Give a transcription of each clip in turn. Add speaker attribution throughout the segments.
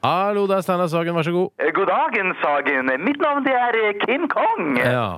Speaker 1: Hallo, det er Steinar Sagen, vær så god.
Speaker 2: Eh, God dagen, Sagen. Mitt navn det er eh, Kim Kong.
Speaker 1: Ja.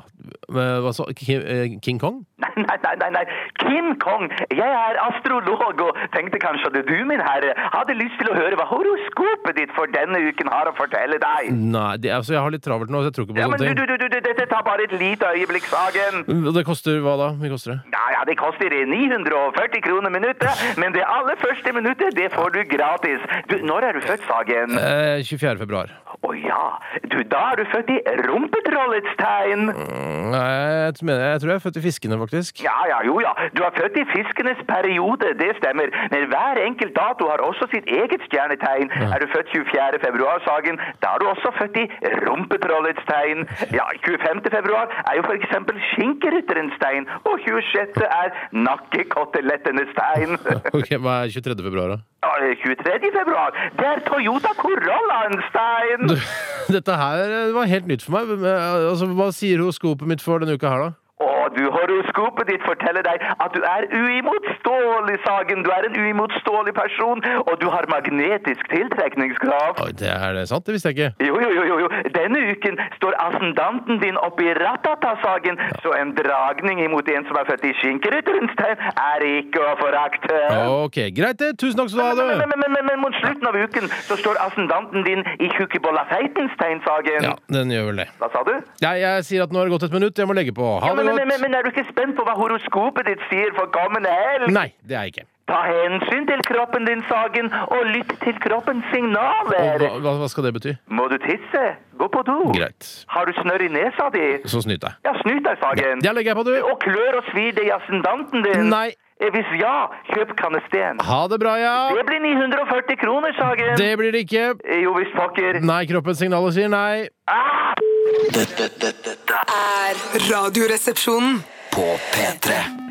Speaker 1: eh, Hva så? Ki- eh, King Kong?
Speaker 2: Nei, nei, nei, nei, nei. Kim Kong. Jeg er astrolog og tenkte kanskje at du, min herre, hadde lyst til å høre hva horoskopet ditt for denne uken har å fortelle deg.
Speaker 1: Nei, det, altså, jeg har litt travelt nå, så jeg tror ikke på
Speaker 2: Ja, men du,
Speaker 1: sånne
Speaker 2: du,
Speaker 1: ting.
Speaker 2: du, du, du, dette tar bare et lite øyeblikk, Sagen.
Speaker 1: Og Det koster hva da? Mye koster det?
Speaker 2: Ja, ja, det koster 940 kroner minuttet, men det aller første minuttet, det får du gratis. Du, når er du født, Sagen?
Speaker 1: Eh, 24. februar.
Speaker 2: Å ja, du, da er du født i rumpetrollets tegn.
Speaker 1: Mm, Nei, jeg, mener, jeg tror jeg er født i fiskene, faktisk.
Speaker 2: Ja, ja, jo ja. Du er født i fiskenes periode, det stemmer. Men hver enkelt dato har også sitt eget stjernetegn. Er du født 24. februar, Sagen, da er du også født i rumpetrollets tegn. Ja, 25. februar er jo for eksempel skinkerytterens tegn, og 26. er nakkekotelettenes tegn.
Speaker 1: Ok, Hva er 23. februar, da?
Speaker 2: Ja, 23. februar, det er Toyota Corollaens tegn.
Speaker 1: Du, dette her eh, var helt nytt for meg. Men, eh, Altså, hva sier horoskopet mitt for denne uka her, da?
Speaker 2: Og du, horoskopet ditt forteller deg at du er uimotståelig, Sagen. Du er en uimotståelig person, og du har magnetisk tiltrekningskraft.
Speaker 1: Oi, det er det sant? Det visste jeg ikke.
Speaker 2: Jo, jo, jo, jo, jo. Denne uken står ascendanten din oppe i Ratata-sagen, så en dragning imot en som er født i skinkerytterens tegn, er ikke å forakte.
Speaker 1: Ok, Greit, det. Tusen takk skal du ha,
Speaker 2: Men, men,
Speaker 1: du.
Speaker 2: men, men, men, men mot slutten av uken så står ascendanten din i tjukkebollafeitens tegn, Sagen.
Speaker 1: Ja, den gjør vel det.
Speaker 2: Hva sa du?
Speaker 1: Nei, jeg sier at nå har det gått et minutt. Jeg må legge på. Ha
Speaker 2: Ja, men,
Speaker 1: det
Speaker 2: men, men,
Speaker 1: godt.
Speaker 2: men er du ikke spent på hva horoskopet ditt sier for kommende helg?
Speaker 1: Nei, det er jeg ikke.
Speaker 2: Ta hensyn til kroppen din, Sagen, og lytt til kroppens
Speaker 1: Og
Speaker 2: signaler.
Speaker 1: hva, hva- hva skal det bety?
Speaker 2: Må du tisse? Gå på do.
Speaker 1: Greit.
Speaker 2: Har du snørr i nesa di?
Speaker 1: Så snyt deg.
Speaker 2: Ja, snyt deg, Sagen.
Speaker 1: Jeg legger jeg på, du.
Speaker 2: Og klør og svir det i ascendanten din.
Speaker 1: Nei.
Speaker 2: Eh, Hvis ja, kjøp kannesten.
Speaker 1: Ha det bra, ja.
Speaker 2: Det blir 940 kroner, Sagen.
Speaker 1: Det blir det ikke.
Speaker 2: Eh, Jo visst, pokker.
Speaker 1: Nei, kroppens signaler sier nei.
Speaker 2: Ah!
Speaker 3: er Radioresepsjonen.
Speaker 4: På P3